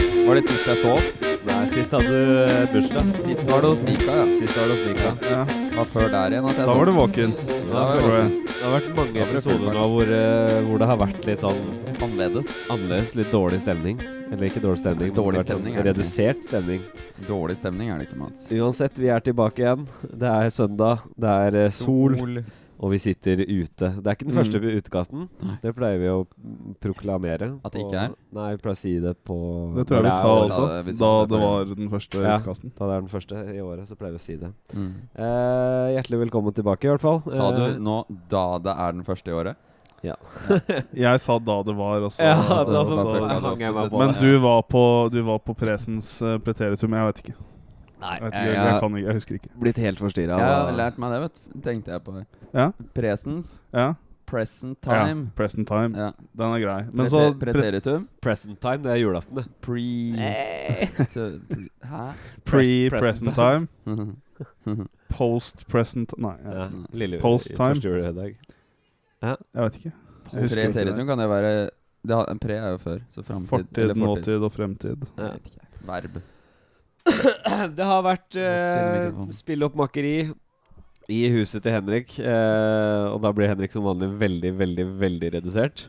sist jeg sov. Nei, sist hadde du eh, bursdag. Sist var det hos Mika, ja. Sist var det hos Mika. Ja, Det var før der igjen at jeg da var du våken. Da var tror jeg. Det har vært Da mange var det episoder nå hvor, eh, hvor det har vært litt sånn sov annerledes. annerledes, litt dårlig stemning. Eller ikke dårlig stemning, men Dårlig det har vært stemning sånn er det redusert stemning. Dårlig stemning er det ikke, Mats. Uansett, vi er tilbake igjen. Det er søndag, det er eh, sol, og vi sitter ute. Det er ikke den Mm. første utkasten. Nei. Det pleier vi å mm, proklamere. At det på- ikke er? Nei, vi pleier å si det på Det tror jeg når vi sa sa er- også, det- vi sa da det det forrige. var den første Ja. utkasten. Da det er den første i året, så pleier vi å si det. Mm. Eh, hjertelig velkommen tilbake, i hvert fall. Sa Eh, du nå 'da det er den første i året'? Jeg sa da det var, og så Ja, Altså, og så- da og så- så- jeg hang jeg meg på Men du var på, du var på presens eh, preteritum. Jeg vet ikke. Nei, Jeg, vet ikke. jeg, Jeg, jeg, kan ikke. jeg husker ikke. Eh, Blitt helt jeg forstyrra. har lært meg det, vet du. Tenkte jeg på det. Ja. Presens. Ja, Present ja. time. Present time. Ja. Den er grei. Men Prete- så pre, Preteritum. Present time, det er julaften, det. Pre... Te- pre- Hæ? pre present present time, Nei, post present Nei, jeg, Ja. Lille Post time. Første juledag. jeg vet ikke. Jeg husker ikke det. Preteritum kan det være det har, en Pre er jo før. Så framtid. Fortid, nåtid og fremtid. Jeg vet ikke. Verb. Det har vært Stille eh, mikrofonen. spilloppmakeri i huset til Henrik. eh, og da blir Henrik som vanlig veldig, veldig veldig redusert.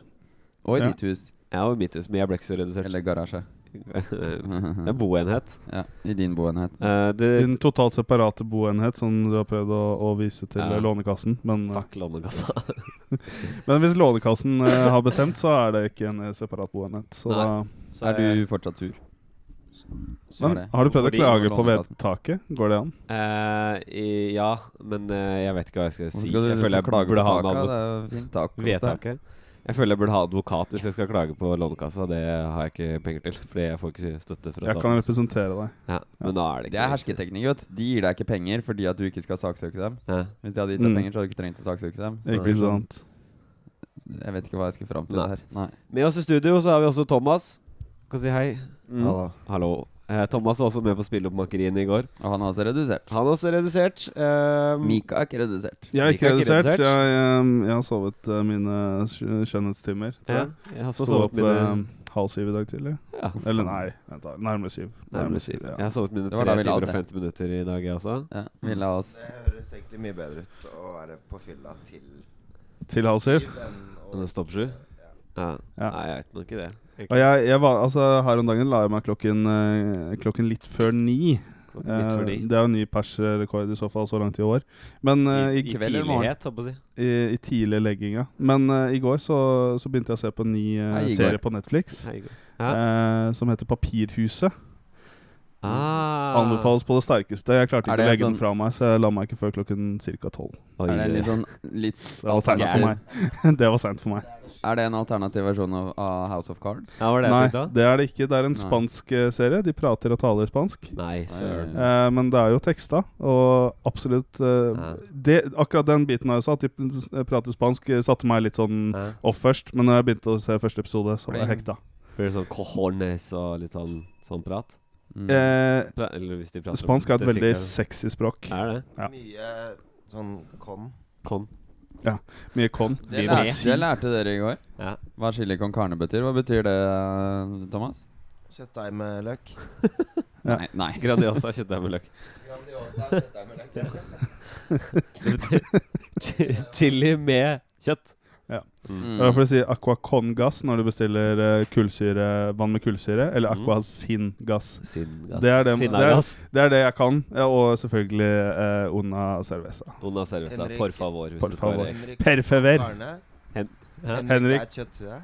Og i Ja. ditt hus. Jeg var i mitt hus, men jeg ble ikke så redusert. Eller garasje. det er boenhet. ja, I din boenhet. Eh, det Din totalt separate boenhet, som du har prøvd å, å vise til Ja. eh, Lånekassen. Men, eh, Fuck lånekassa. men hvis Lånekassen eh, har bestemt, så er det ikke en eh, separat boenhet. Så Nei. da, Så Så er Eh, du fortsatt sur. Så er men det. har du prøvd å Fordi- klage på Lånekassen. vedtaket? Går det an? eh, i, Ja, men eh, jeg vet ikke hva jeg skal Hvorfor si. skal du jeg føler jeg klage på burde ha en taket? advo- Det er jo fint tak. hos deg. vedtaket. Jeg føler jeg burde ha advokat hvis jeg skal klage på Lånekassa. Det har jeg ikke penger til, fordi jeg får ikke støtte fra Jeg kan staten. representere deg. Ja, men nå er det ikke Det er hersketeknikk, vet du. De gir deg ikke penger fordi at du ikke skal saksøke dem. Ja. Hvis de hadde gitt deg Mm. penger, så hadde du ikke trengt å saksøke dem. Så sånn, Ikke sant? jeg vet ikke hva jeg skal fram til sånn. Nei. der. Nei. Med oss i studio så har vi også Thomas. Kan si hei. Mm. Hallo. Eh, Thomas var også med på spilleoppmakeriene i går. Og han er også redusert. Han er også redusert. Eh, Mika er ikke redusert. Jeg Mikael er ikke er ikke redusert. redusert. Jeg, eh, jeg har sovet eh, mine skj- skjønnhetstimer. tror ja, jeg. jeg har også Sto sovet opp eh, mine halv syv i dag tidlig. ja, Eller nei, vent da, nærmere syv. Nærmere syv. Jeg Ja. har sovet mine Det var da 3 vi la timer oss og 50 minutter i dag, jeg også. Ja, vi la oss Det høres egentlig mye bedre ut å være på fylla til Til halv syv. enn å Men det er Stopp sju? Ja. Ja. Nei, jeg vet nok ikke det. Og jeg, jeg var, altså, her om dagen la jeg meg klokken, eh, klokken litt før ni. Klokken litt før Eh, ni. Det er jo ny persrekord i så fall så langt i år. Men eh, I, i, i kveld eller morgen? tidlighet, holdt på å si. i, i tidlig legginga. Men eh, i går så, så begynte jeg å se på en ny eh, Hei, Igor. serie på Netflix Hei, Igor. eh, som heter Papirhuset. Ah. Anbefales på det sterkeste. Jeg klarte Er ikke det å en legge sånn- den fra meg, så jeg la meg ikke før klokken ca. tolv. Er Oi, det en oi. litt sånn litt Det var seint for alternativ, meg. det var sent for meg. Er det en alternativ versjon av, av House of Cards? Ja, var det jeg Nei, tenkte da? det er det ikke. Det er en Nei. spansk eh, serie. De prater og taler spansk. Nei, søren. Nei. Eh, men det er jo teksta, og absolutt eh, Ja. det, Akkurat den biten jeg sa, at de s- prater spansk, eh, satte meg litt sånn Ja. off først. Men når jeg begynte å se første episode, så var jeg Blir- hekta. Blir det sånn cojones og litt sånn, sånn prat? Mm. Eh, Pra eller hvis de prater om spansk er et veldig testikler. sexy språk. Er det? Ja. mye sånn con. Kon. Mye con. det, vi må lærte, si- det lærte dere i går. Ja. Hva chili con carne betyr. Hva betyr det, Thomas? Kjøttdeig med løk. Ja. Nei, nei. Grandiosa kjøttdeig med løk. Grandiosa kjøttdeig med løk. Det betyr chi- chili med kjøtt. Mm. Det er derfor de sier aqua con gas når du bestiller eh, kullsyre, vann med kullsyre, eller Mm. aqua sin gas. Singas. Det er det- Sinnagas. Det er det jeg kan, ja, og selvfølgelig eh, una cerveza. Una cerveza. Henrik. Por favor. Hvis Por du skal favor. være- Henrik Per fever. Karne. Hæ? Henrik. er kjøtthue.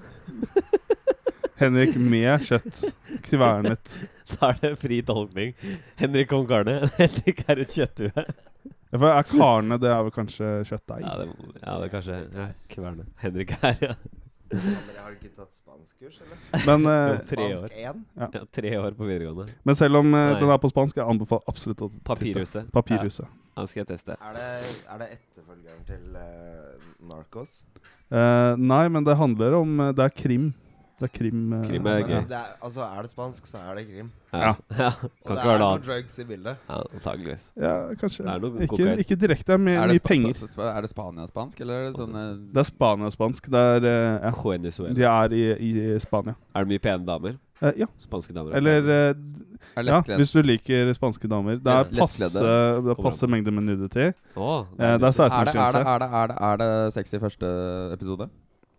Henrik med kjøtt. Kvernet. Da er det fri tolkning. Henrik om garnet. Henrik er et kjøtthue. Ja, For er karne det er vel kanskje kjøttdeig? Ja, det, ja, det er kanskje ja, Kverne. Henrik er ja. Dere har ikke tatt spanskkurs, eller? Men, eh, Sånn tre år. Spansk 1? Ja, tre år på videregående. men selv om eh, Nei. den er på spansk, jeg anbefaler absolutt å titte. Papirhuset. Papirhuset. Ja, den skal jeg teste. Er det, er det etterfølgeren til eh, Narcos? Eh, nei, men det handler om eh, Det er krim. Det Det er krim. eh, Krim er Men gøy. det er, altså, er det spansk, så er det krim. Ja. ja. Og Kan det ikke være noe er noe annet. drugs i bildet. Ja, antageligvis. Ja, kanskje. Det er noe Ikke, kokain. ikke direkte, det er mye, Er det, mye spa- penger. spa- spa- er det Spania-spansk, eller er det sånn Det er Spania-spansk. Det er eh, ja. Venezuela. De er i, i Spania. Er det mye pene damer? Eh, ja. Spanske damer? er Eller pene. eh, eh, er ja, lettkledd? hvis du liker spanske damer. Det er Lettkledde. passe, det er Kommer passe an mengde med nudity. Å, det Eh, det er er, det, er, det, 16-årsgrense. er, det, er, det, er det sex i første episode?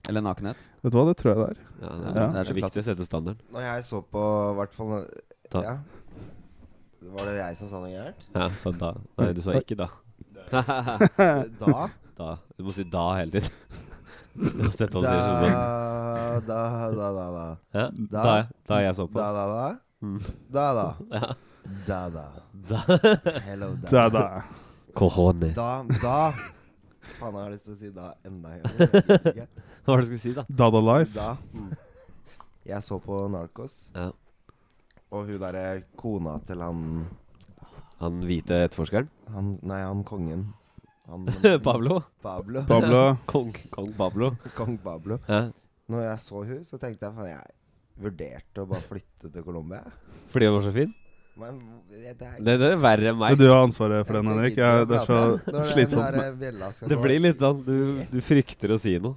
Eller nakenhet? Vet du hva, det tror jeg det er. Ja, det, er, Ja. det er så viktig å sette standarden. Når jeg så på i hvert fall Ta. Ja. Var det jeg som sa noe gærent? Ja, så da Nei, du sa ikke da. Da da. Du må si da hele tiden. Sett hva Da, han sier. sånn. da, da, da, da, da. Ja, Da. da, da jeg så på. Da, da, da. Mm. Da, da. Da, da. Hello, Det da. er det. Cojones. Da, da. Faen, jeg har lyst til å si da enda en gang. Jeg gidder ikke. Hva var det du skulle si, da? Dada Life. Da. mm. Jeg så på Narcos, Ja. og hun derre kona til han Han hvite etterforskeren? Han Nei, han kongen. Han Pablo? Pablo. Pablo. Kong, kong Pablo. Kong Pablo. Ja. Når jeg så hun, så tenkte jeg faen, jeg vurderte å bare flytte til Colombia. Fordi han var så fin? Men det, det er Det, det er verre enn Men meg. Du har ansvaret for den, Henrik. Jeg, det er Når så den slitsomt. der med- bjella skal Det gå. blir litt sånn Du, du frykter å si noe.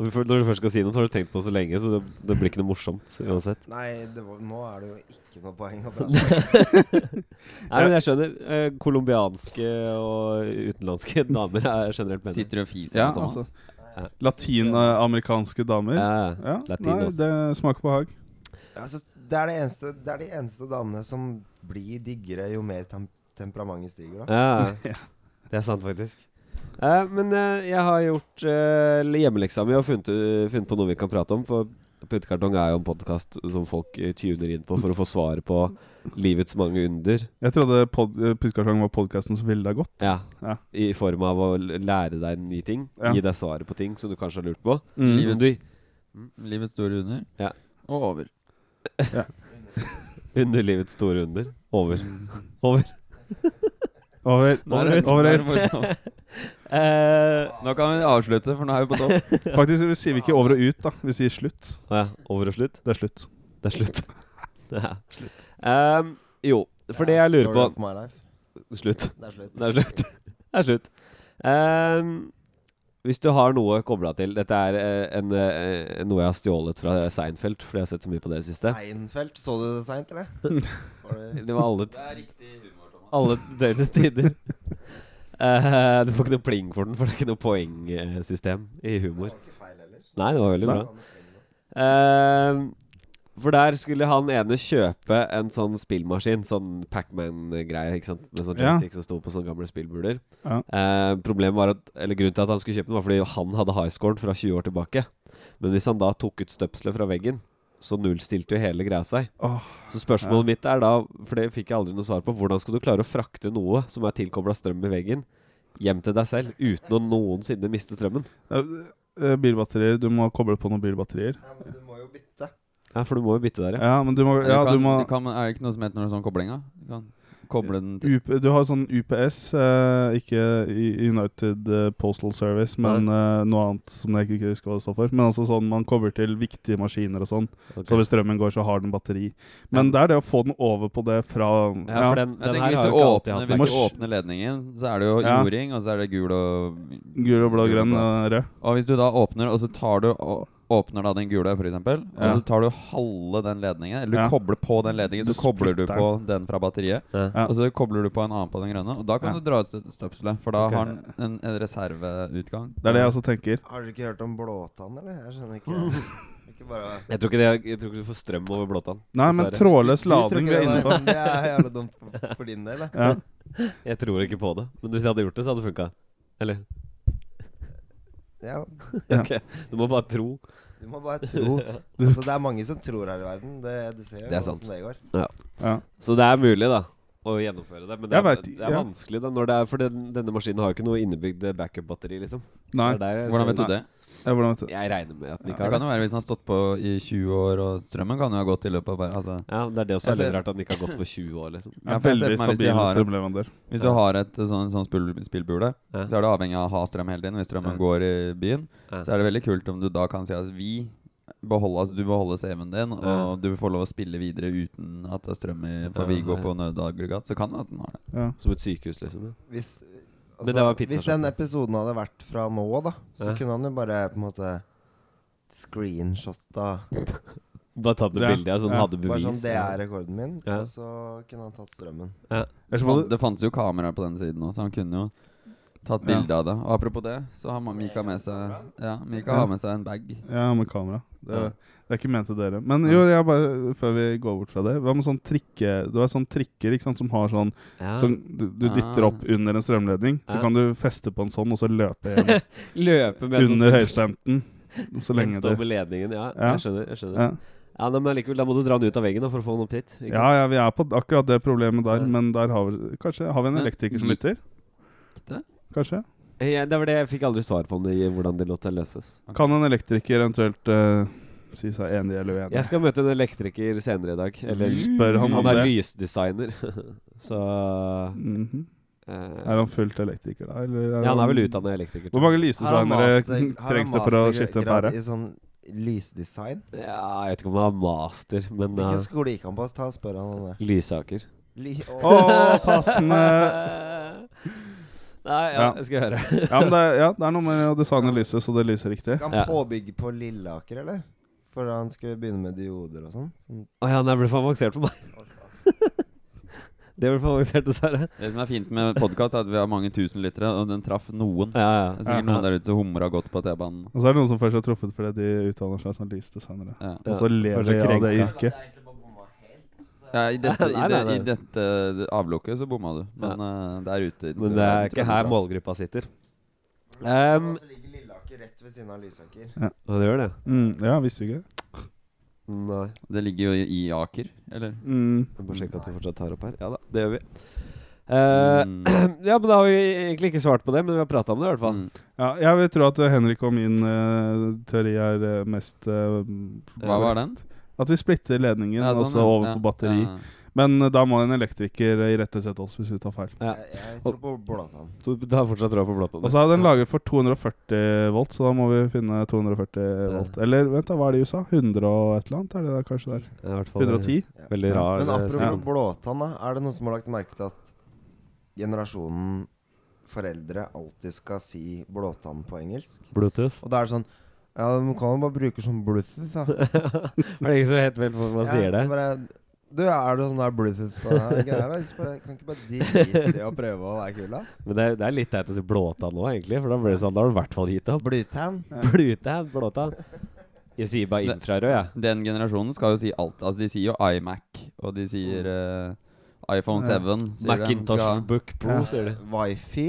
Og for- Når du først skal si noe, så har du tenkt på det så lenge, så det, det blir ikke noe morsomt uansett. Nei, det var, nå er det jo ikke noe poeng å prate om. Nei, men jeg skjønner. Eh, Colombianske og utenlandske damer er generelt bedre. Sitter du og fiser? Ja, nå, Thomas? altså. Latinamerikanske damer. Ja, Ja, nei, latinos. det smaker behag. Altså, det, er det, eneste, det er de eneste damene som blir diggere jo mer tem temperamentet stiger. da Ja, det er sant, faktisk. Eh, men eh, jeg har gjort eh, hjemmeleksa mi og funnet, u- funnet på noe vi kan prate om. For Puttekartong er jo en podkast som folk eh, tuner inn på for å få svaret på livets mange under. Jeg trodde pod Puttekartong var podkasten som ville deg godt. Ja, Ja. I form av å l- lære deg en ny ting. Ja. Gi deg svaret på ting som du kanskje har lurt på. Mm. Som du Mm, Livets store under Ja. og over. under livets store under. Over. Over. Over, Nå er det- over, over nå er ett. det morsomt. Eh, Nå kan vi avslutte, for nå er vi på topp. Faktisk vi sier vi ikke over og ut, da. Vi sier slutt. å ja, over og slutt. Det er slutt. Det er slutt. Det er slutt. Ehm, jo, for det jeg lurer Story på of my life. Slutt. Det er slutt. Det er slutt. Det er slutt. Ehm, hvis du har noe kobla til Dette er eh, en, eh, noe jeg har stjålet fra Seinfeld, fordi jeg har sett så mye på det i det siste. Seinfeld, så du det seint, eller? Var det- Det var alle, er riktig humor, Thomas. alle døgnets tider. Eh, du får ikke noe pling for den, for det er ikke noe poengsystem i humor. det var ikke feil ellers. Nei, det var veldig bra. Nei. Ehm, for der skulle han ene kjøpe en sånn spillmaskin, sånn Pacman-greie, ikke sant? Med sånn Ja. joystick som sto på sånne gamle spillbuler. Ja. Ehm, problemet var at, eller Grunnen til at han skulle kjøpe den, var fordi han hadde highscoren fra 20 år tilbake. Men hvis han da tok ut støpselet fra veggen, så nullstilte jo hele greia seg. Åh, Så spørsmålet mitt er da, for det fikk jeg aldri noe svar på, hvordan skal du klare å frakte noe som er tilkobla strøm i veggen, hjem til deg selv, uten å noensinne miste strømmen? eh, bilbatterier. Du må koble på noen bilbatterier. Ja, men du må jo bytte. Ja, for du må jo bytte der, ja. Ja, men du må, Eller ja, kan, du må det kan, er det ikke noe som heter noe sånn kobling, da? Du kan koble den til UP, Du har sånn UPS, eh, ikke i- United eh, Postal Service, men eh, noe annet som jeg ikke husker hva det står for. Men altså sånn, man kobler til viktige maskiner og sånn. Ok. Så hvis strømmen går, så har den batteri. Men det er det å få den over på det fra Ja, for den, Jeg den tenker her Hvis har du jo ikke alltid åpner, hatt hvis Mors- du åpner ledningen, så er det jo Ja. jording, og så er det gul og Gul og Gul blå, og grønn blå. og rød. Og hvis du da åpner, og så tar du og åpner da den gule, f.eks., eksempel Ja. og så tar du halve den ledningen, eller du Ja. kobler på den ledningen, så Du kobler du splitter på den fra batteriet, Ja. og så kobler du på en annen på den grønne, og da kan Ja. du dra ut stø- støpselet, for da Ok. har den en, en reserveutgang. Det er det jeg også tenker. Har dere ikke hørt om blåtann, eller? Jeg skjønner ikke. ikke bare Jeg tror ikke, det, jeg tror ikke du får strøm over blåtann. Nei, men dessverre. trådløs Du tror lading ikke vi er inne det, på. var- det er jævlig dumt for- for din del. da. Ja. Jeg tror ikke på det. Men hvis jeg hadde gjort det, så hadde det funka. Eller? Ja, Ja. Ok, Du må bare tro. du må bare tro. Altså, det er mange som tror her i verden. Det, du ser jo Det er sant. hvordan det går. Ja. Så det er mulig, da. Å gjennomføre det. Men det Jeg er, vet det ikke, er ja. vanskelig, da. Når det er, for den, denne maskinen har jo ikke noe innebygd backup-batteri, liksom. Nei, Det er der jeg Hvordan ser vet du det? ja, hvordan vet du? Jeg regner med at den Det ikke har kan det. jo være hvis den har stått på i 20 år, og strømmen kan jo ha gått i løpet av bare altså. Ja, men Det er det også er Jeg litt ser- rart at den ikke har gått på 20 år, liksom. Ja, Ja, for jeg ser veldig for meg hvis de stabil har et- strømleverandør. Hvis du Ja. har et sånn, sånn spill, spillbule, Ja. så er du avhengig av å ha strøm hele tiden. Hvis strømmen Ja. går i byen, Ja. så er det veldig kult om du da kan si at vi beholde, altså, du beholder CV-en din, Ja. og du får lov å spille videre uten at det er strøm i Ja, for Viggo ja. på nødaggregat, så kan det at den har det. Ja. Som et sykehus, liksom. Hvis, Men det var altså, hvis pizzasjappen. den episoden hadde vært fra nå, da, så Ja. kunne han jo bare på en måte screenshotta Bare tatt et Ja. bilde av sånn Ja. hadde Bare bevis. sånn, det er rekorden min. Ja. Og så kunne han tatt strømmen. Ellers må Fan, du Det fantes jo kameraer på den siden òg, så han kunne jo tatt Ja. bilde av det. Og apropos det, så har man Mika med seg Ja, Mika Ja. har med seg en bag. Ja, med kamera. Det, Ja. det er ikke ment til dere. Men jo, jeg bare, før vi går bort fra det Hva med sånn trikke Du har sånn trikker ikke sant, som har sånn Ja. som du, du dytter Ah. opp under en strømledning. Så Ja. kan du feste på en sånn, og så løpe igjen Løpe med sånn- under høyspenten. Så Den lenge står det med ledningen, ja. Ja. Jeg skjønner. jeg skjønner ja. Ja, nei, Men likevel, da må du dra den ut av veggen da, for å få den opp dit. Ikke ja, ja, vi er på akkurat det problemet der, Ja. men der har vi Kanskje har vi en Men elektriker som gikk lytter? det? Kanskje? sant? Ja, det var det Eh, jeg fikk aldri svar på om det, hvordan det lot seg løses. Kan en elektriker eventuelt eh, si seg enig eller uenig? Jeg skal møte en elektriker senere i dag. Eller Spør han om han er det. lysdesigner, så Mhm. eh, Er han fullt elektriker, da? Eller Ja, han er vel utdannet elektriker. Hvor mange Har han lysdesignere master- har han trengs det for å mastergrad skifte en pære? I sånn lysdesign? Ja, jeg vet ikke om han har master, men eh, Hvilken skole gikk han på? Ta og Spør han om det. Lysaker. Li Å, passende! Nei, ja, Eh. Ja. jeg skal høre. Ja, men det er, ja, det er noe med å designe lyset så det lyser riktig. Skal Ja. han påbygge på Lilleaker, eller? For han skulle begynne med dioder og sånn. sånn. Å ja, nei, det ble for avansert for meg. det ble for avansert, dessverre. Det som er fint med podkast, er at vi har mange tusen lyttere, og den traff noen. Ja, Det er ja. sikkert Ja. noen der ute som humra godt på T-banen. Og så er det noen som først har truffet fordi de utdanner seg som lysdesignere. Ja. Og så Føler lever de seg av det krenka. yrket. Ja, i, dette, i, Nei, det, nei, nei. I dette eh, avlukket så bomma du, men eh, der ute Men det er ikke her målgruppa sitter. Um, og så ligger Lilleaker rett ved siden av Lysaker. det gjør det. Mm, ja, visste du ikke det? Nei. Det ligger jo i, i Aker, eller? Mm. Jeg må bare sjekke at vi fortsatt tar opp her. Ja da, det gjør vi. Eh, Mm. ja, men da har vi egentlig ikke svart på det, men vi har prata om det i hvert fall. Mm. Ja, jeg vil tro at eh, Henrik og min eh, teori er eh, mest eh, Hva var den? At vi splitter ledningen, Ja, sånn, altså ja. over Ja, på batteri. ja. Men eh, da må en elektriker eh, irettesette oss hvis vi tar feil. Ja. Jeg, jeg tror på Blåtann. Så du har fortsatt troa på blåtann? Og så er den laget for 240 volt, så da må vi finne 240 volt. Eller vent da, hva er det i USA? 100 og et eller annet er det der, kanskje der? I hvert fall, 110? Veldig rar Men eh, apropos stil. Blåtann, da. Er det noen som har lagt merke til at generasjonen foreldre alltid skal si Blåtann på engelsk? Bluetooth. Og da er det sånn Ja, de kan jo bare bruke sånn Bluetooth, da. Er det ingen som vet helt hvordan man Ja, sier det? så Bare, du, er du sånn der Bluetooth på det her greia der? Så bare, Kan ikke bare drite i å prøve å være kul, da? Men det, er- det er litt teit å si blåtann nå, egentlig. For da blir det sånn, da har du i hvert fall gitt opp. Blutan. Blutann, blåtann. Jeg sier bare Det- infrarød, jeg. Den generasjonen skal jo si alt. Altså, de sier jo iMac, og de sier eh, iPhone 7. Ja. Mm. Ja. sier de. Macintosh Skal- Book Pro, Ja. sier du. Wifi.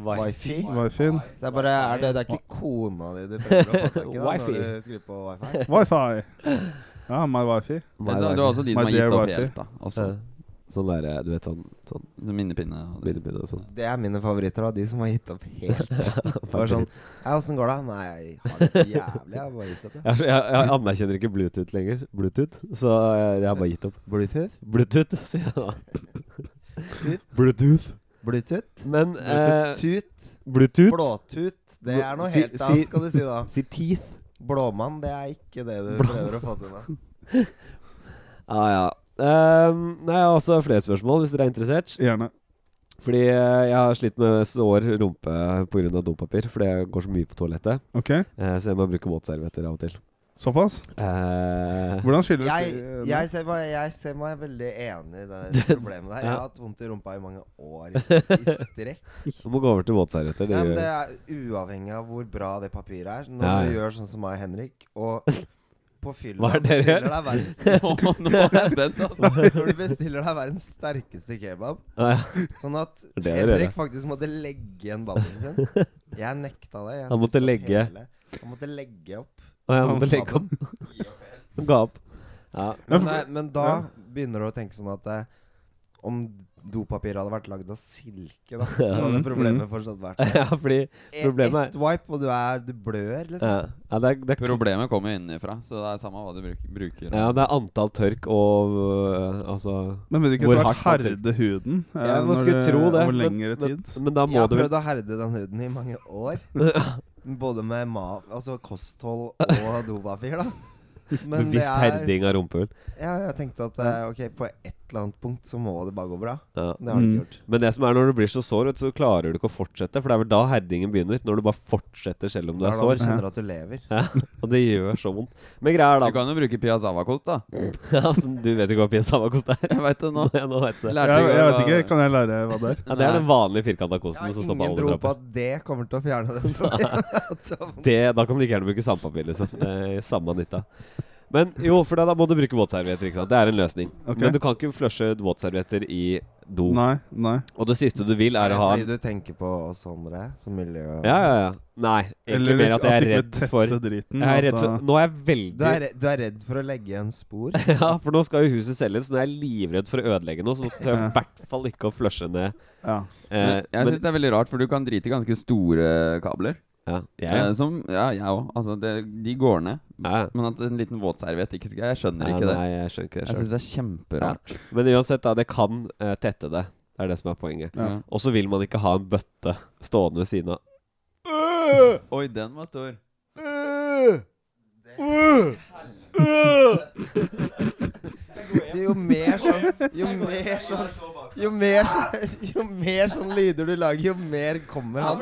Wifi. Wifi. Var fin. Så jeg bare, er det, det er ikke kona di du prøver å få tak i da, Wifi. når du skriver på wifi? Wifi. Ja, my wifi. Men så er det jo også de som My har gitt dear opp wifi. helt, da. Også, Ja. Sånn derre, du vet sånn, sånn Som minnepinne. Og det. minnepinne og sånn. Det er mine favoritter, da. De som har gitt opp helt. Bare sånn Jeg, Ja, åssen går det? Nei, jeg har det jævlig. Jeg har bare gitt opp, jeg. er så- jeg, jeg anerkjenner ikke Bluetooth lenger. Bluetooth. Så eh, jeg, jeg har bare gitt opp. Bluetooth? Bluetooth, sier jeg da. Bluetooth. Bluetooth? Men eh, Bluetooth? Bluetooth Blåtut? Det er noe Si- helt si- annet, skal du si da. Si teeth. Blåmann, det er ikke det du prøver å få til nå. Ja, Ah, ja. Ehm, nei, jeg har også flere spørsmål, hvis dere er interessert. Gjerne. Fordi eh, jeg har slitt med sår rumpe pga. dopapir. Fordi jeg går så mye på toalettet. Ok, Eh, så jeg må bruke våtservietter av og til. såpass. Eh, Hvordan skyldes Jeg, det? jeg, ser meg, jeg ser meg veldig enig i det problemet der. Jeg har hatt vondt i rumpa i mange år i, i strekk. du må gå over til våtservietter. Det Nei, gjør men det er uavhengig av hvor bra det papiret er. Når Ja, ja. du gjør sånn som meg og Henrik, og på fylla Hva er det dere bestiller deg verdens Å, Nå er jeg spent, altså. når du bestiller deg verdens sterkeste kebab, Ja, ja. sånn at Det er det Henrik faktisk måtte legge igjen ballen sin. Jeg nekta det. Jeg Han måtte spiste opp legge. hele. Han måste legge opp. Og jeg måtte legge opp. kebabben. Ga opp. Ja. Men, nei, men da begynner du å tenke sånn at eh, om dopapir hadde vært lagd av silke, da, så hadde problemet fortsatt vært der. ja, fordi E- Problemet er- Ett wipe, og du, er, du blør, liksom. ja, ja, det, er, det, er, Problemet kommer jo innenfra, så det er samme hva du bruker. bruker. ja, det er antall tørk og øh, Altså Men vil du ikke Hvor etter hvert hardt man herde huden eh, Ja, man når skulle det- tro det. over men- lengre men, tid? men, da Jeg må har du vel prøvd å herde den huden i mange år. Både med ma altså kosthold og dopapir, da. Men det Bevisst er, herding av rumpehull. ja, jeg tenkte at eh, ok, på et eller annet punkt så må det bare gå bra. Ja. Det har det Mm. ikke gjort. Men det som er når du blir så sår, vet du, så klarer du ikke å fortsette. For det er vel da herdingen begynner. Når du bare fortsetter selv om du er Da er det sår. du kjenner at du lever. Og det gjør så vondt. Men greia er Du da kan jo bruke piazzavakost, da. altså, Du vet ikke hva piazzavakost er? Jeg veit det nå. Ja, nå vet du det. Lærte Jeg, i går jeg vet hva- ikke. Kan jeg lære hva det er? Ja, det er den vanlige firkanta Jeg kosten som har står på ingen alle tro på trapper. at det kommer til å fjerne den. problemet. Det, da kan du like gjerne bruke sandpapir, liksom. Eh, Samme nytta. Men jo, for da, da må du bruke våtservietter. ikke sant? Det er en løsning. Ok. Men du kan ikke flushe våtservietter i do. Nei. nei Og det siste du vil, er å ha en fordi du tenker på oss andre som miljø... Ja, ja, ja. Nei, egentlig mer at jeg er ikke redd for tette Driten, Jeg er redd altså. for Nå er jeg Du, veldig er, redd- du er redd for å legge igjen spor? Ja, for nå skal jo huset selges, så nå er jeg livredd for å ødelegge noe. Så tør jeg i hvert fall ikke å flushe ned. ja. Eh, Men Jeg men- syns det er veldig rart, for du kan drite i ganske store kabler. ja, jeg, Eh, Som, ja, jeg òg. Altså, det, de går ned. ja. Men at en liten våtserviett ikke skal Jeg skjønner Ja, ikke det. Nei, jeg skjønner ikke det Jeg selv. syns det er kjemperart. Men uansett, da. Det kan eh, tette det. Det er det som er poenget. Ja. Ja. Og så vil man ikke ha en bøtte stående ved siden av. Oi, den var stor. Jo mer sånn Jo mer sånn Jo mer sånn, jo mer sånn lyder du lager, jo mer kommer han.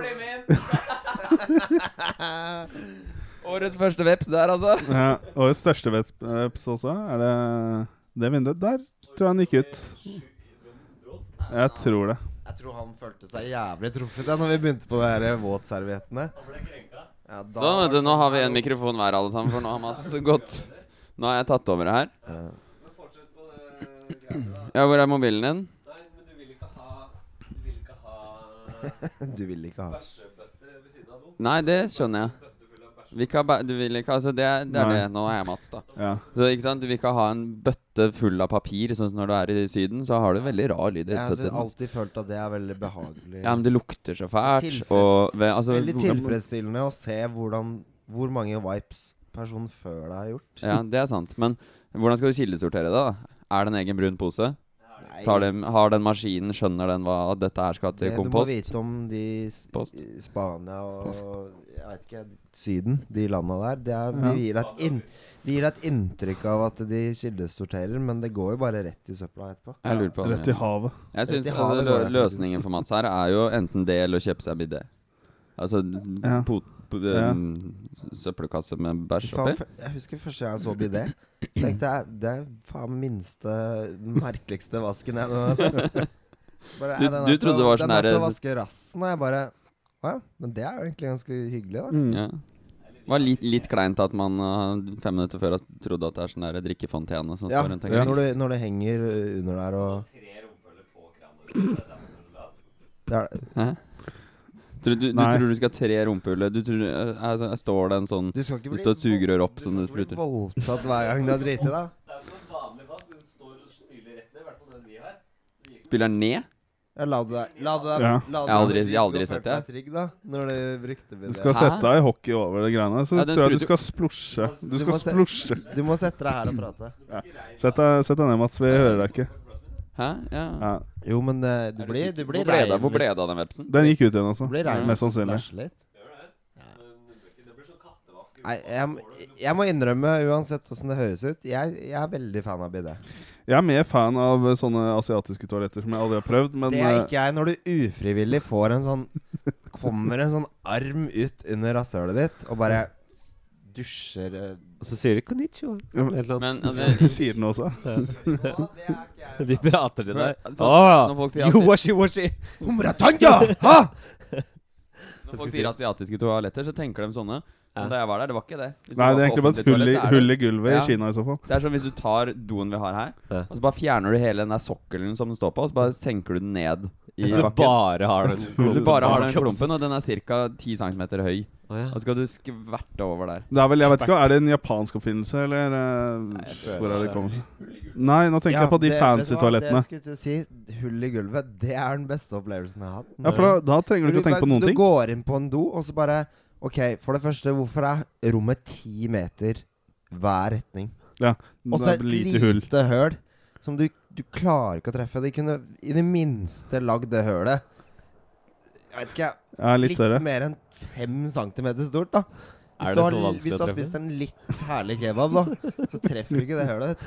Årets første veps der, altså. Ja, og største veps også. Er det det vinduet? Der tror jeg han gikk ut. Jeg tror det. Jeg tror han følte seg jævlig truffet da når vi begynte på de her eh, våtserviettene. Ja, Sånn, da vet du. var det Nå sånn- har vi én mikrofon hver, alle sammen, for nå har Mads gått. Nå har jeg tatt over her. Ja. Ja, hvor er mobilen din? Du vil ikke ha Nei, det skjønner jeg. Vi kan ba du vil ikke Altså, det, er- det er Nei. det. Nå er jeg Mats, da. Ja. Så ikke sant, Du vil ikke ha en bøtte full av papir, sånn som når du er i Syden. Så har du veldig rar lyd. i Jeg har headsetet. alltid følt at det er veldig behagelig. Ja, men det lukter så fælt. Tilfreds- Og ve altså, Veldig hvor- tilfredsstillende å se hvordan, hvor mange vipes personen før deg har gjort. Ja, det er sant. Men hvordan skal du kildesortere det, da? Er det en egen brun pose? Nei, Tar den, har den maskinen, skjønner den hva at dette her skal til det du må kompost? vite om de s- Post. i Spania og jeg vet ikke, Syden, de landa der, det er, de, Ja. gir deg et inn, de gir deg et inntrykk av at de kildesorterer, men det går jo bare rett i søpla etterpå. Jeg lurer på Rett i det. havet. Jeg Rett i synes havet lø går det, løsningen for Mats her er jo enten det eller å kjøpe seg bidé. Altså Ja. pot, po- Ja. um, søppelkasse med bæsj Faen, oppi. f- jeg husker første gang jeg så bidé. Så tenkte jeg det er faen minste merkeligste vasken jeg noen gang har sett. Bare, Du- "Ja, den er du til å- trodde det var sånn Den er til å her- vaske rassen, og jeg bare Å ja, men det er jo egentlig ganske hyggelig, da. Mm. Ja. Det var litt, litt kleint at man uh, fem minutter før at- trodde at det er sånn der drikkefontene som Ja, står rundt når, omkring. du, når det henger uh, under der og det er, Hæ? Tror du, du, Nei. tror du skal ha tre rumpehuller? Du tror, eh, altså, står det en sånn Du skal ikke Det bli står et sugerør opp vold- som det skal ikke spruter. bli voldtatt hver gang du har driti, da. Spiller ned? Ja, la det der. La det der. Ja. La det Jeg har aldri- der- jeg har aldri du sett følt det. deg Trygg, da, når du brukte Du bidé. skal Hæ? sette deg i hockey over det greiene. Så Ja, den tror jeg spruter- du skal splosje. Du Du skal må se- splosje. Du må sette deg her og prate. Sett deg, sett deg ned, Mats. Vi hører deg ikke. Hæ? Ja. Ja. Jo, men eh, du Er du blir, sikker? du Hvor ble blir det av- rein Hvor ble hvis- det av den vepsen? Den gikk ut igjen, altså. Du blir rein Mest hvis du sannsynlig. splasjer litt. Nei, jeg, jeg må innrømme, uansett hvordan det høres ut, jeg, jeg er veldig fan av bidé. Jeg er mer fan av eh, sånne asiatiske toaletter som jeg aldri har prøvd, men Det er eh, ikke jeg når du ufrivillig får en sånn Kommer en sånn arm ut under rasshølet ditt og bare dusjer eh. Og så sier de 'konnichiwa' eller noe. Men altså, eh, sier den også. De prater til deg. For- altså, Åh, når folk sier yo, asi- washi, washi. Humratanga! Ha! Når folk sier asiatiske toaletter, så tenker de sånne. Men Ja. da jeg var der, det var ikke det. Hvis du Nei, var det på er egentlig bare offentlig et hull i, toalett, så er det- hull i gulvet Ja. i Kina i så fall. Det er som hvis du tar doen vi har her, Ja. og så bare fjerner du hele den der sokkelen som den står på, og så bare senker du den ned i Så bakken. bare har du en Du klump bare har den bak oss. klumpen, og den er ca. 10 cm høy. Å, ja. Og så skal du skverte over der. Det er vel, jeg vet ikke, er det en japansk oppfinnelse, eller eh, jeg føler hvor er det det kommer fra? Nei, nå tenker jeg på de det- vet du fancy hva? toalettene. Det jeg skulle til å si, hull i gulvet, det er den beste opplevelsen jeg har hatt. Ja, for da, da trenger du ikke å tenke på noen du ting. går inn på en do, og så bare Ok, for det første, hvorfor er rommet ti meter hver retning? Og så Det et er lite hull. lite høl som du, du klarer ikke å treffe. De kunne i det minste lagd det hølet Jeg vet ikke, Ja, litt, litt større. mer enn fem centimeter stort, da. Er Hvis du, det har, så vanskelig hvis du å har treffe? spist en litt herlig kebab, da, så treffer du ikke det hølet.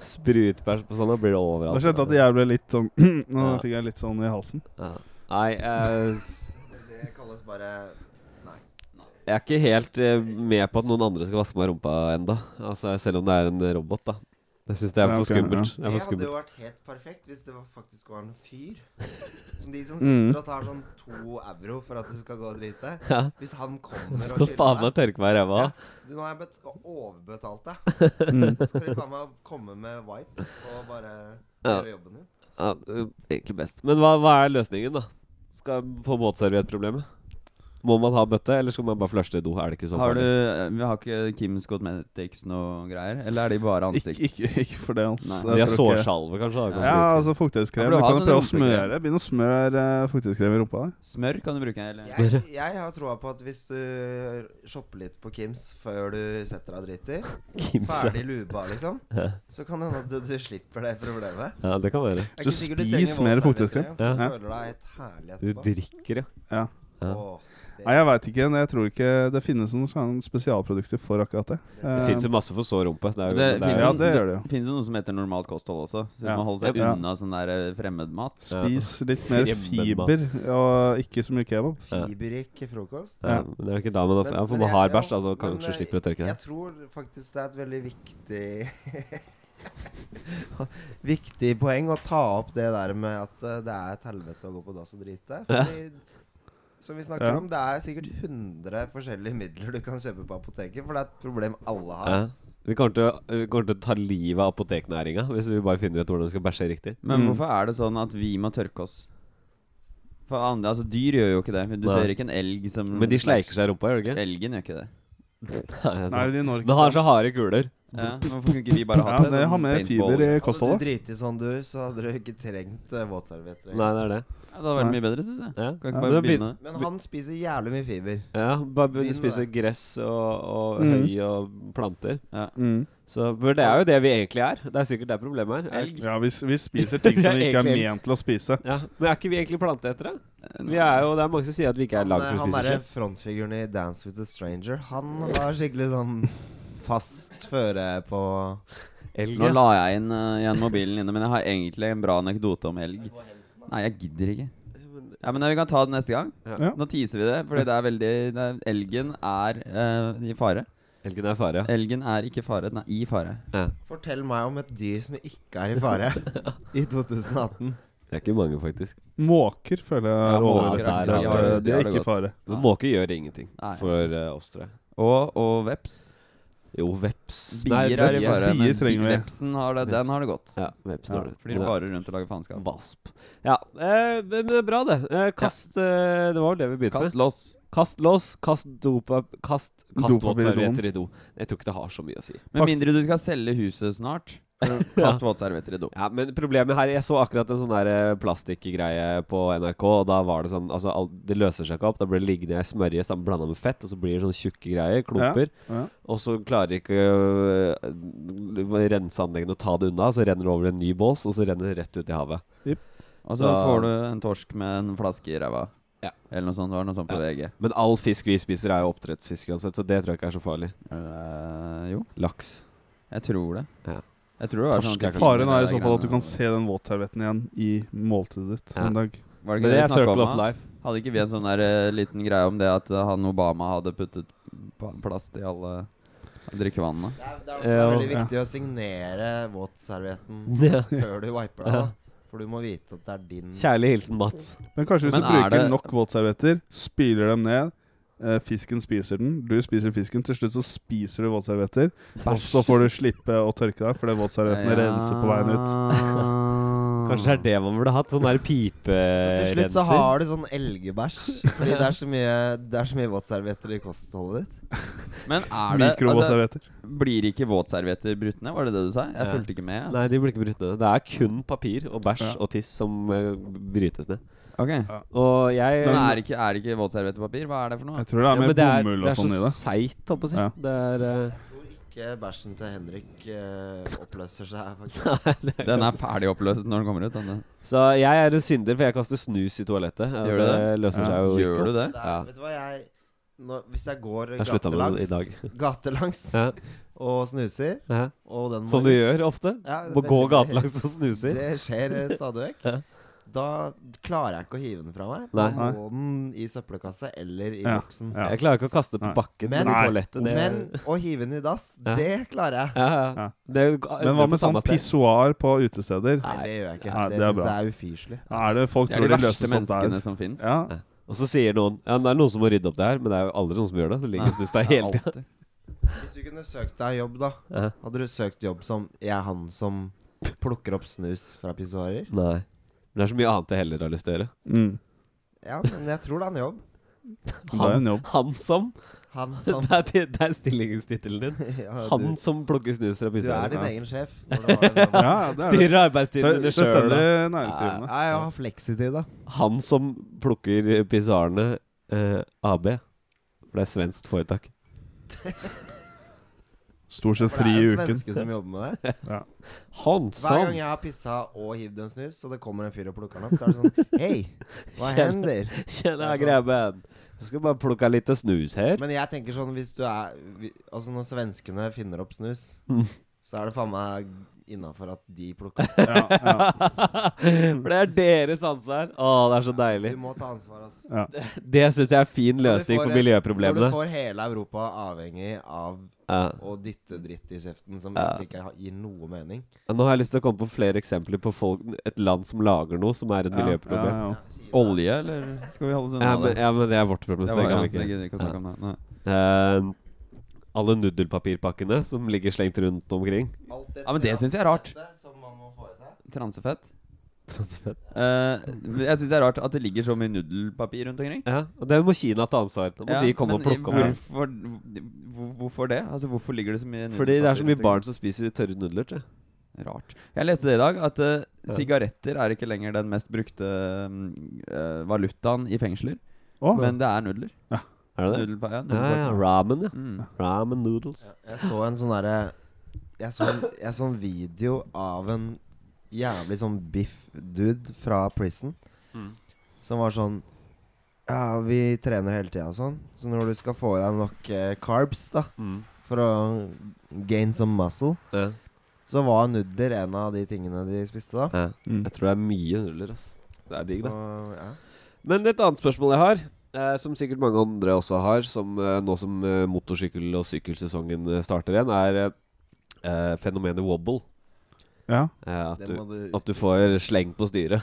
Sprutbæsj på sånn, da blir det overalt. Da kjente jeg at jeg ble litt sånn Nå Ja. fikk jeg litt sånn i halsen. ja. Nei, eh, s- Det kalles bare jeg er ikke helt eh, med på at noen andre skal vaske meg i rumpa enda Altså, selv om det er en robot, da. Jeg syns det er Ja, for ok, skummelt. Det Det er for hadde skummelt. jo vært helt perfekt hvis det var- faktisk var en fyr. Som de som Mm. sitter og tar sånn to euro for at du skal gå og drite. Ja. Hvis han kommer og Skal faen meg skylder deg tørke meg i ræva. Ja. Du, nå har jeg bet- overbetalt deg. Mm. Så skal du faen meg komme med wipes og bare Ja. gjøre jobben din. Ja, eh, egentlig best. Men hva, hva er løsningen, da? Skal På båtserviettproblemet? Må man ha bøtte, eller skal man bare flushe det i do? Er det ikke så Har du eh, farlig? Vi har ikke Kims Cosmetics noe greier? Eller er de bare Ikke, ansikt? ikke, ikke for det, altså. Nei. Jeg De har tror ikke- sårsalve, kanskje? da, kan man Ja, bruke. altså fuktighetskrem. Ja, for du du har kan sånn prøve å rumpekrem. smøre. Begynn å smøre eh, fuktighetskrem i rumpa. Smør kan du bruke, eller? Jeg, jeg har troa på at hvis du shopper litt på Kims før du setter deg og driter, Kimsa. ferdig luba, liksom, så kan det hende at du, du slipper det problemet. Ja, det kan være. Det er Så ikke sikkert du spis trenger mer voldservietter, fuktighetskrem. for Du Ja. føler deg helt herlig Du etterpå. drikker, ja. ja. Åh, det- Nei, jeg veit ikke. men Jeg tror ikke det finnes noen sånne spesialprodukter for akkurat det. Det Eh, fins jo masse for sår rumpe. Det er jo, Det det er finnes ja, jo sånn- det gjør det jo. Det finnes jo noe som heter normalt kosthold også. Så hvis Ja. man holder seg Ja. unna sånn der eh, fremmedmat. Ja. Spis litt mer fiber, Fremmedmat. og ikke så mye kebab. Fiberrik frokost. ja, men det er jo ikke da man Men- ja, For man men jeg- har ja, bæsj, altså, da, så men, kanskje eh, slipper å tørke det. Jeg tror faktisk det er et veldig viktig Viktig poeng å ta opp det der med at eh, det er et helvete å gå på dass og drite. Fordi, som vi snakker Ja. om, det er sikkert 100 forskjellige midler du kan kjøpe på apoteket, for det er et problem alle har. Ja. Vi kommer til, å- vi kommer til å ta livet av apoteknæringa hvis vi bare finner ut hvordan vi skal bæsje riktig. Men Mm. hvorfor er det sånn at vi må tørke oss? For andre, altså Dyr gjør jo ikke det. Du Nei. ser ikke en elg som Men de sleiker seg i rumpa, gjør de ikke? Elgen gjør ikke det. Nei, altså. Nei, de når Men ikke har så harde kuler. Ja, hvorfor kunne ikke vi bare ja, hatt det? det sånn har med paintball? fiber i Hadde du kostholdet. driti sånn du, så hadde du ikke trengt eh, våtservietter. Nei, det er det. Ja, det hadde vært mye bedre, syns jeg. Ja. Kan Ja, ikke bare men det blir- begynne med det. Men han spiser jævlig mye fiber. Ja, bare begynne Begynn å med spise det. gress og, og Mm. høy og planter. Mm. Så, men det er jo det vi egentlig er. Det er sikkert det problemet her. Er, Elg? Ja, vi, s- vi spiser ting som vi ikke er Egentlig- ment til å spise. ja. Men er ikke vi egentlig planteetere? Vi er jo, det er mange som sier at vi ikke er Han, lagd eh, for å han spise derre kjøtt. frontfiguren i Dance with a Stranger, han har skikkelig sånn fast føre på Elg, Nå ja. la jeg inn eh, igjen mobilen inne, men jeg har egentlig en bra anekdote om elg. Nei, jeg gidder ikke. Ja, Men vi kan ta det neste gang. Ja. Nå teaser vi det, fordi det er veldig det er, Elgen er eh, i fare. Elgen er fare, ja. Elgen er ikke fare, den er i fare. Fortell meg om et dyr som ikke er i fare i 2018. Det er ikke mange, faktisk. Måker føler jeg Ja, er måker, der overrepresentert. har du- Eh, De der har er du ikke i gått. fare. Men måker gjør ingenting Nei. for eh, oss, tror jeg. Og, og veps. Jo, veps Bier er i veps. fare, bier men trenger vi. vepsen har det, den har det godt. Ja, veps Ja, når det- Fordi de varer rundt og lager faenskap. Vasp. Ja, eh, men det er bra, det. Eh, kast eh, Det var vel det vi begynte med. Kast loss. Kast lås, kast dopa... Kast, kast Dopapir i våtservietter i do. Jeg tror ikke det har så mye å si. Med mindre du skal selge huset snart. Kast våtservietter i do. Ja, Men problemet her Jeg så akkurat en sånn der eh, plastikkgreie på NRK, og da var det sånn Altså, alt, det løser seg ikke opp. Da blir det liggende i smørje sammen blanda med fett, og så blir det sånne tjukke greier, klumper. Ja. Og så klarer ikke øh, renseanleggene å ta det unna, så renner det over i en ny bås, og så renner det rett ut i havet. Og så Så- får du en torsk med en flaske i ræva. Ja. Eller noe sånt. Det var noe sånt på VG. Men all fisk vi spiser, er jo oppdrettsfisk uansett, så det tror jeg ikke er så farlig. Eh, jo, Laks. jeg tror det. Ja. Jeg tror det var Torsk sånn at er de kanskje- Faren er finner i så de fall at du greiene der. kan se den våtservietten igjen i måltidet ditt Ja. en dag. Var det ikke Men det det vi er snakka circle of om? da? life. Hadde ikke vi en sånn der, eh, liten greie om det at eh, han Obama hadde puttet pa- plast i alle drikkevannene? Det er, det er, Ja. veldig viktig å signere våtservietten Ja. før du wiper deg, da. For du må vite at det er din Kjærlig hilsen Mats. Men kanskje hvis Men du er bruker det- nok våtservietter, spyler dem ned eh, Fisken spiser den, du spiser fisken. Til slutt så spiser du våtservietter. Og så får du slippe å tørke deg, fordi våtserviettene renser på veien ut. Kanskje det er det man burde hatt? Sånn der Så til piperenser? slutt så har du sånn elgebæsj. Fordi det er så mye, det er så mye våtservietter i kostholdet ditt. Men er det altså, Mikrovåtservietter. Blir ikke våtservietter brutt ned? Var det det du sa? Jeg Ja. fulgte ikke med. Nei, Altså. de blir ikke brutt ned. Det er kun papir og bæsj Ja. og tiss som eh, brytes ned. Ok Og jeg Men er ikke, er ikke våtservietterpapir? Hva er det for noe? Jeg tror det Ja, er men mer det er, bomull det og er sånn i så det. seigt, holdt på å si. Ja. Det er eh, Ikke bæsjen til Henrik eh, oppløser seg, faktisk. Den er ferdig oppløst når den kommer ut. Den. Så jeg er en synder, for jeg kaster snus i toalettet. Ja, Gjør du løser Ja. seg jo Gjør ikke. du det? Det er, Ja. Vet du hva, jeg nå, Hvis jeg går Jeg slutta med det gatelangs, i dag. gatelangs Ja, og snuser ja. og den Som du gjør ofte? Ja, Må det- gå gatelangs og snuser? Det skjer eh, stadig vekk. Ja. Da klarer jeg ikke å hive den fra meg. Da Nei. må den i søppelkassa eller i Ja. boksen. Ja. Jeg klarer ikke å kaste på Nei. bakken Men- eller Nei. toalettet. Det, Men å hive den i dass, Ja. det klarer jeg. ja, ja. Ja. det Men hva med sånn pissoar på utesteder? Nei, det gjør jeg ikke. Nei, det det er syns bra. jeg er ufyselig. Er det folk Det er de tror de verste løser sånt menneskene der? som fins. Ja. Og så sier noen Ja, det er noen som må rydde opp det her, men det er jo aldri noen som gjør det. Det ligger og snus der hele tida. Hvis du kunne søkt deg jobb, da, Ja. hadde du søkt jobb som Jeg er han som plukker opp snus fra pissoarer? Nei. Men det er så mye annet jeg heller har lyst til å gjøre. Mm. Ja, men jeg tror det er en jobb. Det er en jobb. han som Han som Det er, det- det er stillingstittelen din. ja, Han du, som plukker snus fra du er pysjeren. din Ja. egen sjef. Når du har den jobben. Ja, ja, det er det. Styrer arbeidstiden din Se- sjøl. Selvstendig da. næringsdrivende. Ja, jeg har fleksitid, da. Han som plukker pysjarene eh, AB. For det er svensk foretak. Stort sett For fri det i er jo uken. svensker som jobber med det. Han Hver som gang jeg har pissa og hivd en snus, og det kommer en fyr og plukker den opp, så er det sånn Hei, hva hender? Tjena, grabben. Jeg skal bare plukke litt snus her. Men jeg tenker sånn hvis du er vi- Altså når svenskene finner opp snus, Mm. så er det faen meg innafor at de plukker opp. Ja, ja. For det er deres ansvar. Å, det er så Du deilig. må ta ansvar, ass. Det syns jeg er fin løsning på Når du får- Når du miljøproblemene. får hele Europa avhengig av Ja. å dytte dritt i kjeften som Ja. egentlig ikke har- gir noe mening. Nå har jeg lyst til å komme på flere eksempler på folk, et land som lager noe som er et Ja, miljøproblem. ja, ja. Olje, eller skal vi holde oss unna Ja, men, det? ja, men det er vårt problem. Det Så var, det ja, kan det vi ikke. gidder vi ikke å snakke om det. Nei. Eh, alle nudelpapirpakkene som ligger slengt rundt omkring. Alt Ja, men det syns jeg er rart. Som man må få i seg. Transefett. Transfett. Eh, jeg syns det er rart at det ligger så mye nudelpapir rundt omkring. Ja, og det må Kina ta ansvar. Da må Ja, de komme men og plukke opp. det. hvorfor, hvor- hvorfor det? Altså, hvorfor ligger det så mye Fordi det er så nudelpapir mye rundt barn som spiser tørre nudler. tror jeg. omkring? Rart. Jeg leste det i dag, at eh, Ja. sigaretter er ikke lenger den mest brukte mm, eh, valutaen i fengsler. Å, Men det er nudler. Er det det? Nudelpa ja, Ja, ja, nudelpapir. ramen, ja. Mm. Ramen noodles. Ja, Jeg så en sånn derre jeg, så en- jeg så en video av en jævlig sånn biff dude fra prison. Mm. Som var sånn Ja, vi trener hele tida og sånn. Så når du skal få i deg nok eh, carbs da Mm. for å gain some muscle, Ja. så var nudler en av de tingene de spiste da. Ja. Mm. Jeg tror det er mye nudler. ass. Det er digg, da. Så, ja. Men et annet spørsmål jeg har, eh, som sikkert mange andre også har, som eh, nå som eh, motorsykkel- og sykkelsesongen eh, starter igjen, er eh, eh, fenomenet wobble. ja. Eh, at, Det du, må du at du får sleng på styret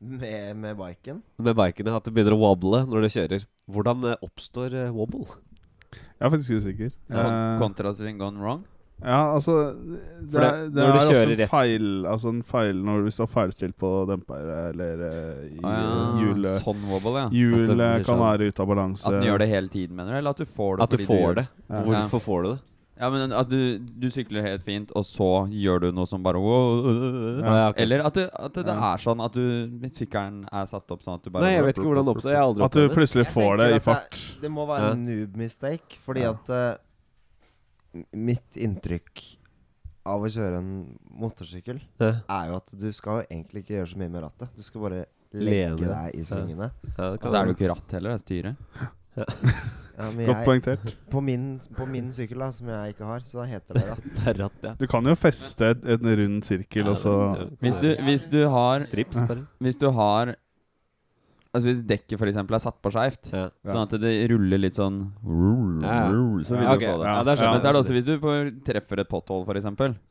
med, med biken. med bikene. At det begynner å wobble når du kjører. Hvordan eh, oppstår eh, wobble? Jeg er faktisk usikker. Kon- Eh, Kontrasving gone wrong. Ja, altså Det For det- er, det når du er ofte kjører en rett- feil Altså en feil når, Hvis du har feilstilt på demper eller eh, i, Å ja, hjulet Sånn wobble, ja. Hjulet At det blir kan sånn- være ute av balanse. At den gjør det hele tiden, mener du? Eller at du får det? At du fordi får gjør det. Ja. Hvorfor får du det? Ja, men at du, du sykler helt fint, og så gjør du noe som bare wow, øh, øh, øh. Ja. Ja, ok. Eller at, det- at det Ja. er sånn at du sykkelen er satt opp sånn at du bare Nei, jeg vet ikke hvordan det oppstår. Jeg har aldri At du opplevd det. plutselig Jeg får det tenker i at fart. Det, det må være Ja. en noob mistake, fordi Ja. at eh, m- Mitt inntrykk av å kjøre en motorsykkel Ja. er jo at du skal jo egentlig ikke gjøre så mye med rattet. Du skal bare Lene. legge deg i svingene. Ja, Og det kan så er det være. jo ikke ratt heller, det er styret. Ja, men Godt jeg, poengtert. på, min, på min sykkel, da, som jeg ikke har, så heter det ratt. Det er ratt, ja. Du kan jo feste et- en rund sirkel, og så Hvis du, hvis du har Strips, bare. Hvis du har Altså hvis dekket f.eks. er satt på skeivt, Ja. sånn at det ruller litt sånn Ja. Så vil Ja, ok. du få det. Ja, Men det Ja, så er det skjønner jeg. også hvis du får- treffer et potthull, f.eks.,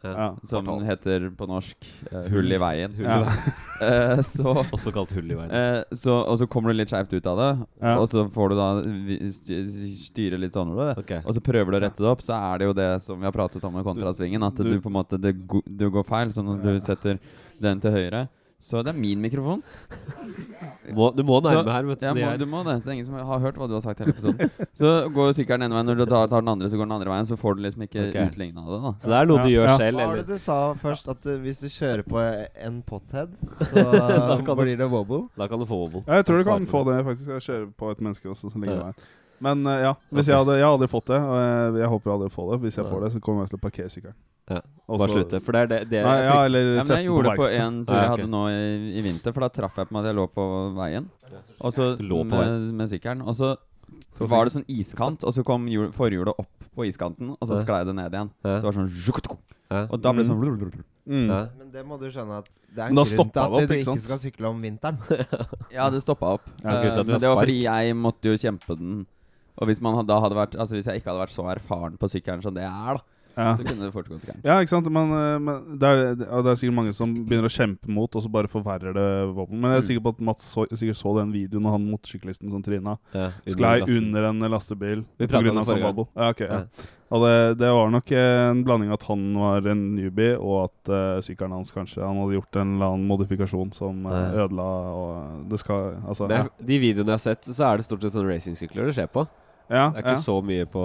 ja. som Potthull. heter på norsk eh, hull i veien. Hull i Ja. veien. Eh, så Også kalt hull i veien. Eh, så, og så kommer du litt skjevt ut av det, Ja. og så får du da vi- sty- styre litt sånn over det. Ok. Og så prøver du å rette det opp, så er det jo det som vi har pratet om med kontrasvingen. At du, Du- på en måte det, go- du går feil, så når Ja. du setter den til høyre Så det er min mikrofon. Må, du må Så- nærme her, vet du. Ja, de må, er- du må det, så ingen som har hørt hva du har sagt hele episoden. Så går sykkelen den ene veien, når du tar, tar den andre, så går den andre veien. Så får du liksom ikke Ok. utligna det, da. Så det er noe du gjør Ja, ja. selv, Hva var eller? det du sa først? At du, hvis du kjører på en pothead, Da så kan du- blir det wobble? Da kan du få wobble. Ja, jeg tror du kan få det, faktisk. Jeg kjører på et menneske også, som ligger Ja. i veien. Men eh, ja, hvis jeg, hadde, jeg har aldri fått det, og jeg, jeg håper jeg aldri får det. Hvis jeg får det, så kommer jeg til å parkere sykkelen. Ja. Og Bare så- slutte. For det er det, det Nei, ja, jeg eller Ja, men sette jeg den på gjorde det på verksted. en tur Ja, jeg ok. hadde nå i, i vinter, for da traff jeg på meg at jeg lå på veien. Og så Du lå på med, med sykkelen. Og så Var det sånn iskant, og så kom hjul, forhjulet opp på iskanten, og så Ja. sklei det ned igjen. Ja. Så det var sånn zjukutuku. Ja. Og da ble det sånn Mm. Ja. Men det må du skjønne at det er Men da en grunn stoppa til det opp, at du ikke ikke sant? skal sykle om vinteren. Ja, det stoppa opp. Ja, Eh, gutt, at du men har det var spark. fordi jeg måtte jo kjempe den. Og hvis, man hadde, da hadde vært, altså hvis jeg ikke hadde vært så erfaren på sykkelen som det jeg er, da, Ja. så kunne det fort gått gærent. Ja, ikke sant? Men, eh, men det, er, det er sikkert mange som begynner å kjempe mot, og så bare forverrer det våpen. Men jeg er Mm. sikker på at Mats så, sikkert så den videoen av han motorsyklisten som tryna. Ja, Sklei lasten. under en lastebil Vi på pratet om det grunn av sånn forrige gang. babbo. Ja, ok, ja. Og det, det var nok eh, en blanding av at han var en newbie, og at eh, sykkelen hans kanskje Han hadde gjort en eller annen modifikasjon som eh, Ja. ødela og det skal Altså, Det er, de videoene jeg har sett, så er det stort sett sånne racingsykler det skjer på. ja. ja, Det er ja. ikke så mye på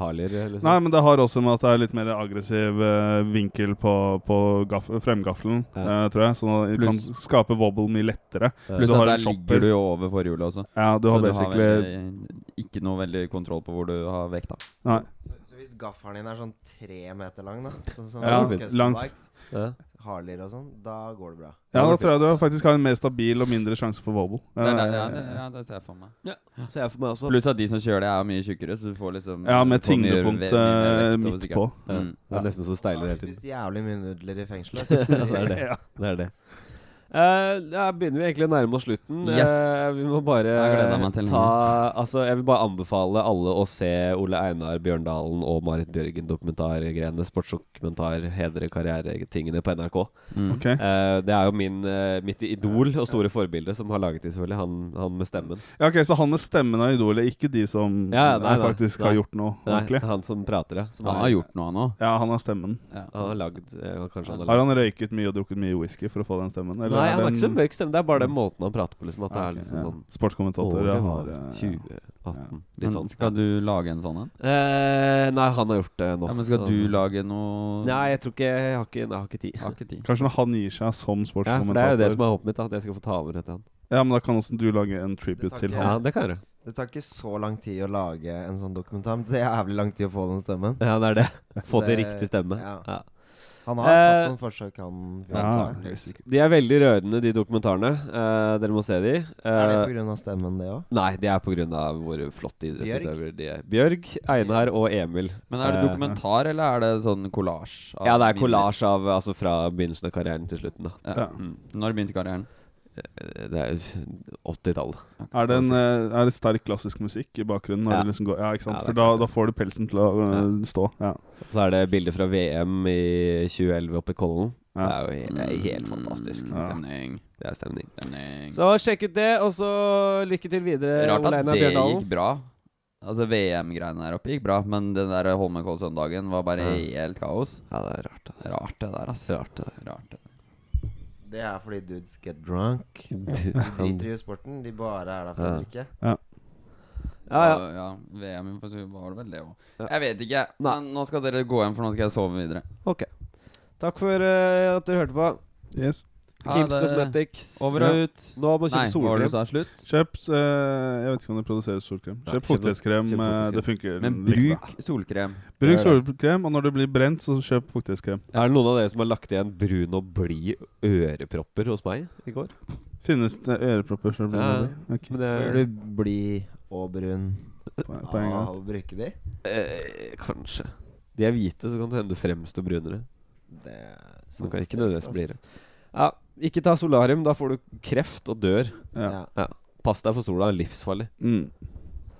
Harlier. Liksom. Nei, men det har også med at det er litt mer aggressiv eh, vinkel på, på gaff fremgaffelen, Ja. eh, tror jeg. Så det kan Pluss- skape wobble mye lettere. Ja. Pluss du at har en der shopper. ligger du jo over forhjulet også. Ja, du har så du basically har eh, veldig, ikke noe veldig kontroll på hvor du har vekta. Nei. Så, så hvis gaffelen din er sånn tre meter lang, da, sånn som Ja, custom lang- bikes, Ja. Harleyer og sånn, da går det bra. Ja, da tror jeg du faktisk har en mer stabil og mindre sjanse for wobble. Eh, Det, Ja, er der- ja, ja, det, ja. ja, det ser jeg for meg. Ser jeg for meg også. Pluss at de som kjører det, er mye tjukkere, så du får liksom Ja, med får mye ve- mye tyngdepunktet mer vekt over midt på. sykkelen. Ja. Mm. Det er nesten så Da steiler har hele du tiden. spist jævlig mye nudler i fengselet. Ja, det er det. Ja. det, er det. Eh, da begynner vi egentlig å nærme oss slutten. Yes. Eh, vi må bare Jeg gleder meg til den ta Altså, jeg vil bare anbefale alle å se Ole Einar Bjørndalen og Marit Bjørgen-dokumentargreiene. Sportsdokumentar, hedre karrieretingene på NRK. Mm. Ok. Eh, det er jo min, eh, mitt idol og store forbilde som har laget de, selvfølgelig. Han, han med stemmen. Ja, ok, Så han med stemmen er idolet, ikke de som Ja, nei, eh, nei, faktisk nei. har gjort noe Nei, ordentlig? han som prater, ja. Som Han er- har gjort noe, han òg. Ja, han har stemmen. Ja. Han har lagd eh, Kanskje han har Har lagd han røyket mye og drukket mye whisky for å få den stemmen? Nei, han har den- ikke så mørk stemme. Det er bare den måten han prater på. Liksom, at det Ja, er ok, liksom ja. sånn Sportskommentatorer Året har, var eh, 2018. Men Litt sånn. skal du lage en sånn en? Eh, nei, han har gjort det nå. Ja, men skal så- du lage noe sånn. Nei, jeg tror ikke Jeg har ikke, jeg har ikke tid. Har ikke tid. Kanskje når han gir seg som Ja, for Det er jo sportskommentator. det som er håpet mitt. da, At jeg skal få ta over etter han. Ja, men da kan også du lage en Det tribute tar til ikke han. Ja, det kan jeg gjøre. Det tar ikke så lang tid å lage en sånn dokumentar. Men det er jævlig lang tid å få den stemmen. Ja, det er det. Få til Det- riktig stemme. ja. Ja. Han har tatt Eh, noen forsøk, han fyren. Ja, Antageligvis. De er veldig rørende, de dokumentarene. Eh, dere må se de. Er det Eh, pga. stemmen, det òg? nei, det er pga. hvor flotte idrettsutøvere de er. Bjørg, Einar og Emil. Men er det Eh, dokumentar, eller er det sånn kollasj? av Ja, det er bilder? kollasj av altså fra begynnelsen av karrieren til slutten. da Ja. Mm. Ja. Når begynte karrieren? Eh, Det er jo 80-tallet. Er, det en, eh, er det sterk klassisk musikk i bakgrunnen? Når Ja. det liksom går, ja, ikke sant? Ja, det er For da, klart det. da får du pelsen til å eh, stå. Ja. Så er det bilder fra VM i 2011 oppe i Kollen. Det Ja. er jo helt, det er helt fantastisk. Mm, Stemning. Det er stemning. Stemning. Så sjekk ut det, og så lykke til videre, Rart Ole at Einar det gikk Bjørndalen. bra. Altså VM-greiene der oppe gikk bra, men den der Holmenkollsøndagen var bare Ja. helt kaos. Ja, det er rart. da. Rart det der, ass. Rart det Rart det. Det er fordi dudes get drunk. De der. driter i sporten. De bare er der for å Ja. drikke. Ja, ja. Og, ja VM for så var det vel det òg. Ja. Jeg vet ikke. Nei. Men nå skal dere gå hjem, for nå skal jeg sove videre. Ok. Takk for eh, at dere hørte på. Yes. Ha Kims det. Cosmetics. Over og ut. Nå må du Nei, kjøpe hva var det du solkrem. sa? Slutt? Kjøp eh, Jeg vet ikke om det produseres solkrem. Nei, Kjøp kjøp- fuktighetskrem. kjøp eh, fuktighetskrem. Det funker. Men like bra. bruk solkrem. bruk Det er solkrem, og når du blir brent, så kjøp fuktighetskrem. Er det noen av dere som har lagt igjen brun og blid ørepropper hos meg i går? Finnes det ørepropper? for å bli Ja. mobbet? Ok, Men det, Bør du bli og brun på, Eh. på en gang. av å bruke de? eh, kanskje. De er hvite, så kan det hende du fremstår brunere. Det er Så du kan ikke stress, nødvendigvis ass. bli det. Ja, ikke ta solarium. Da får du kreft og dør. Ja. Ja. Pass deg for sola. er Livsfarlig. Mm.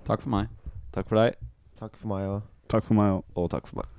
Takk for meg. Takk for deg, Takk for meg òg. Takk for meg òg. og takk for meg.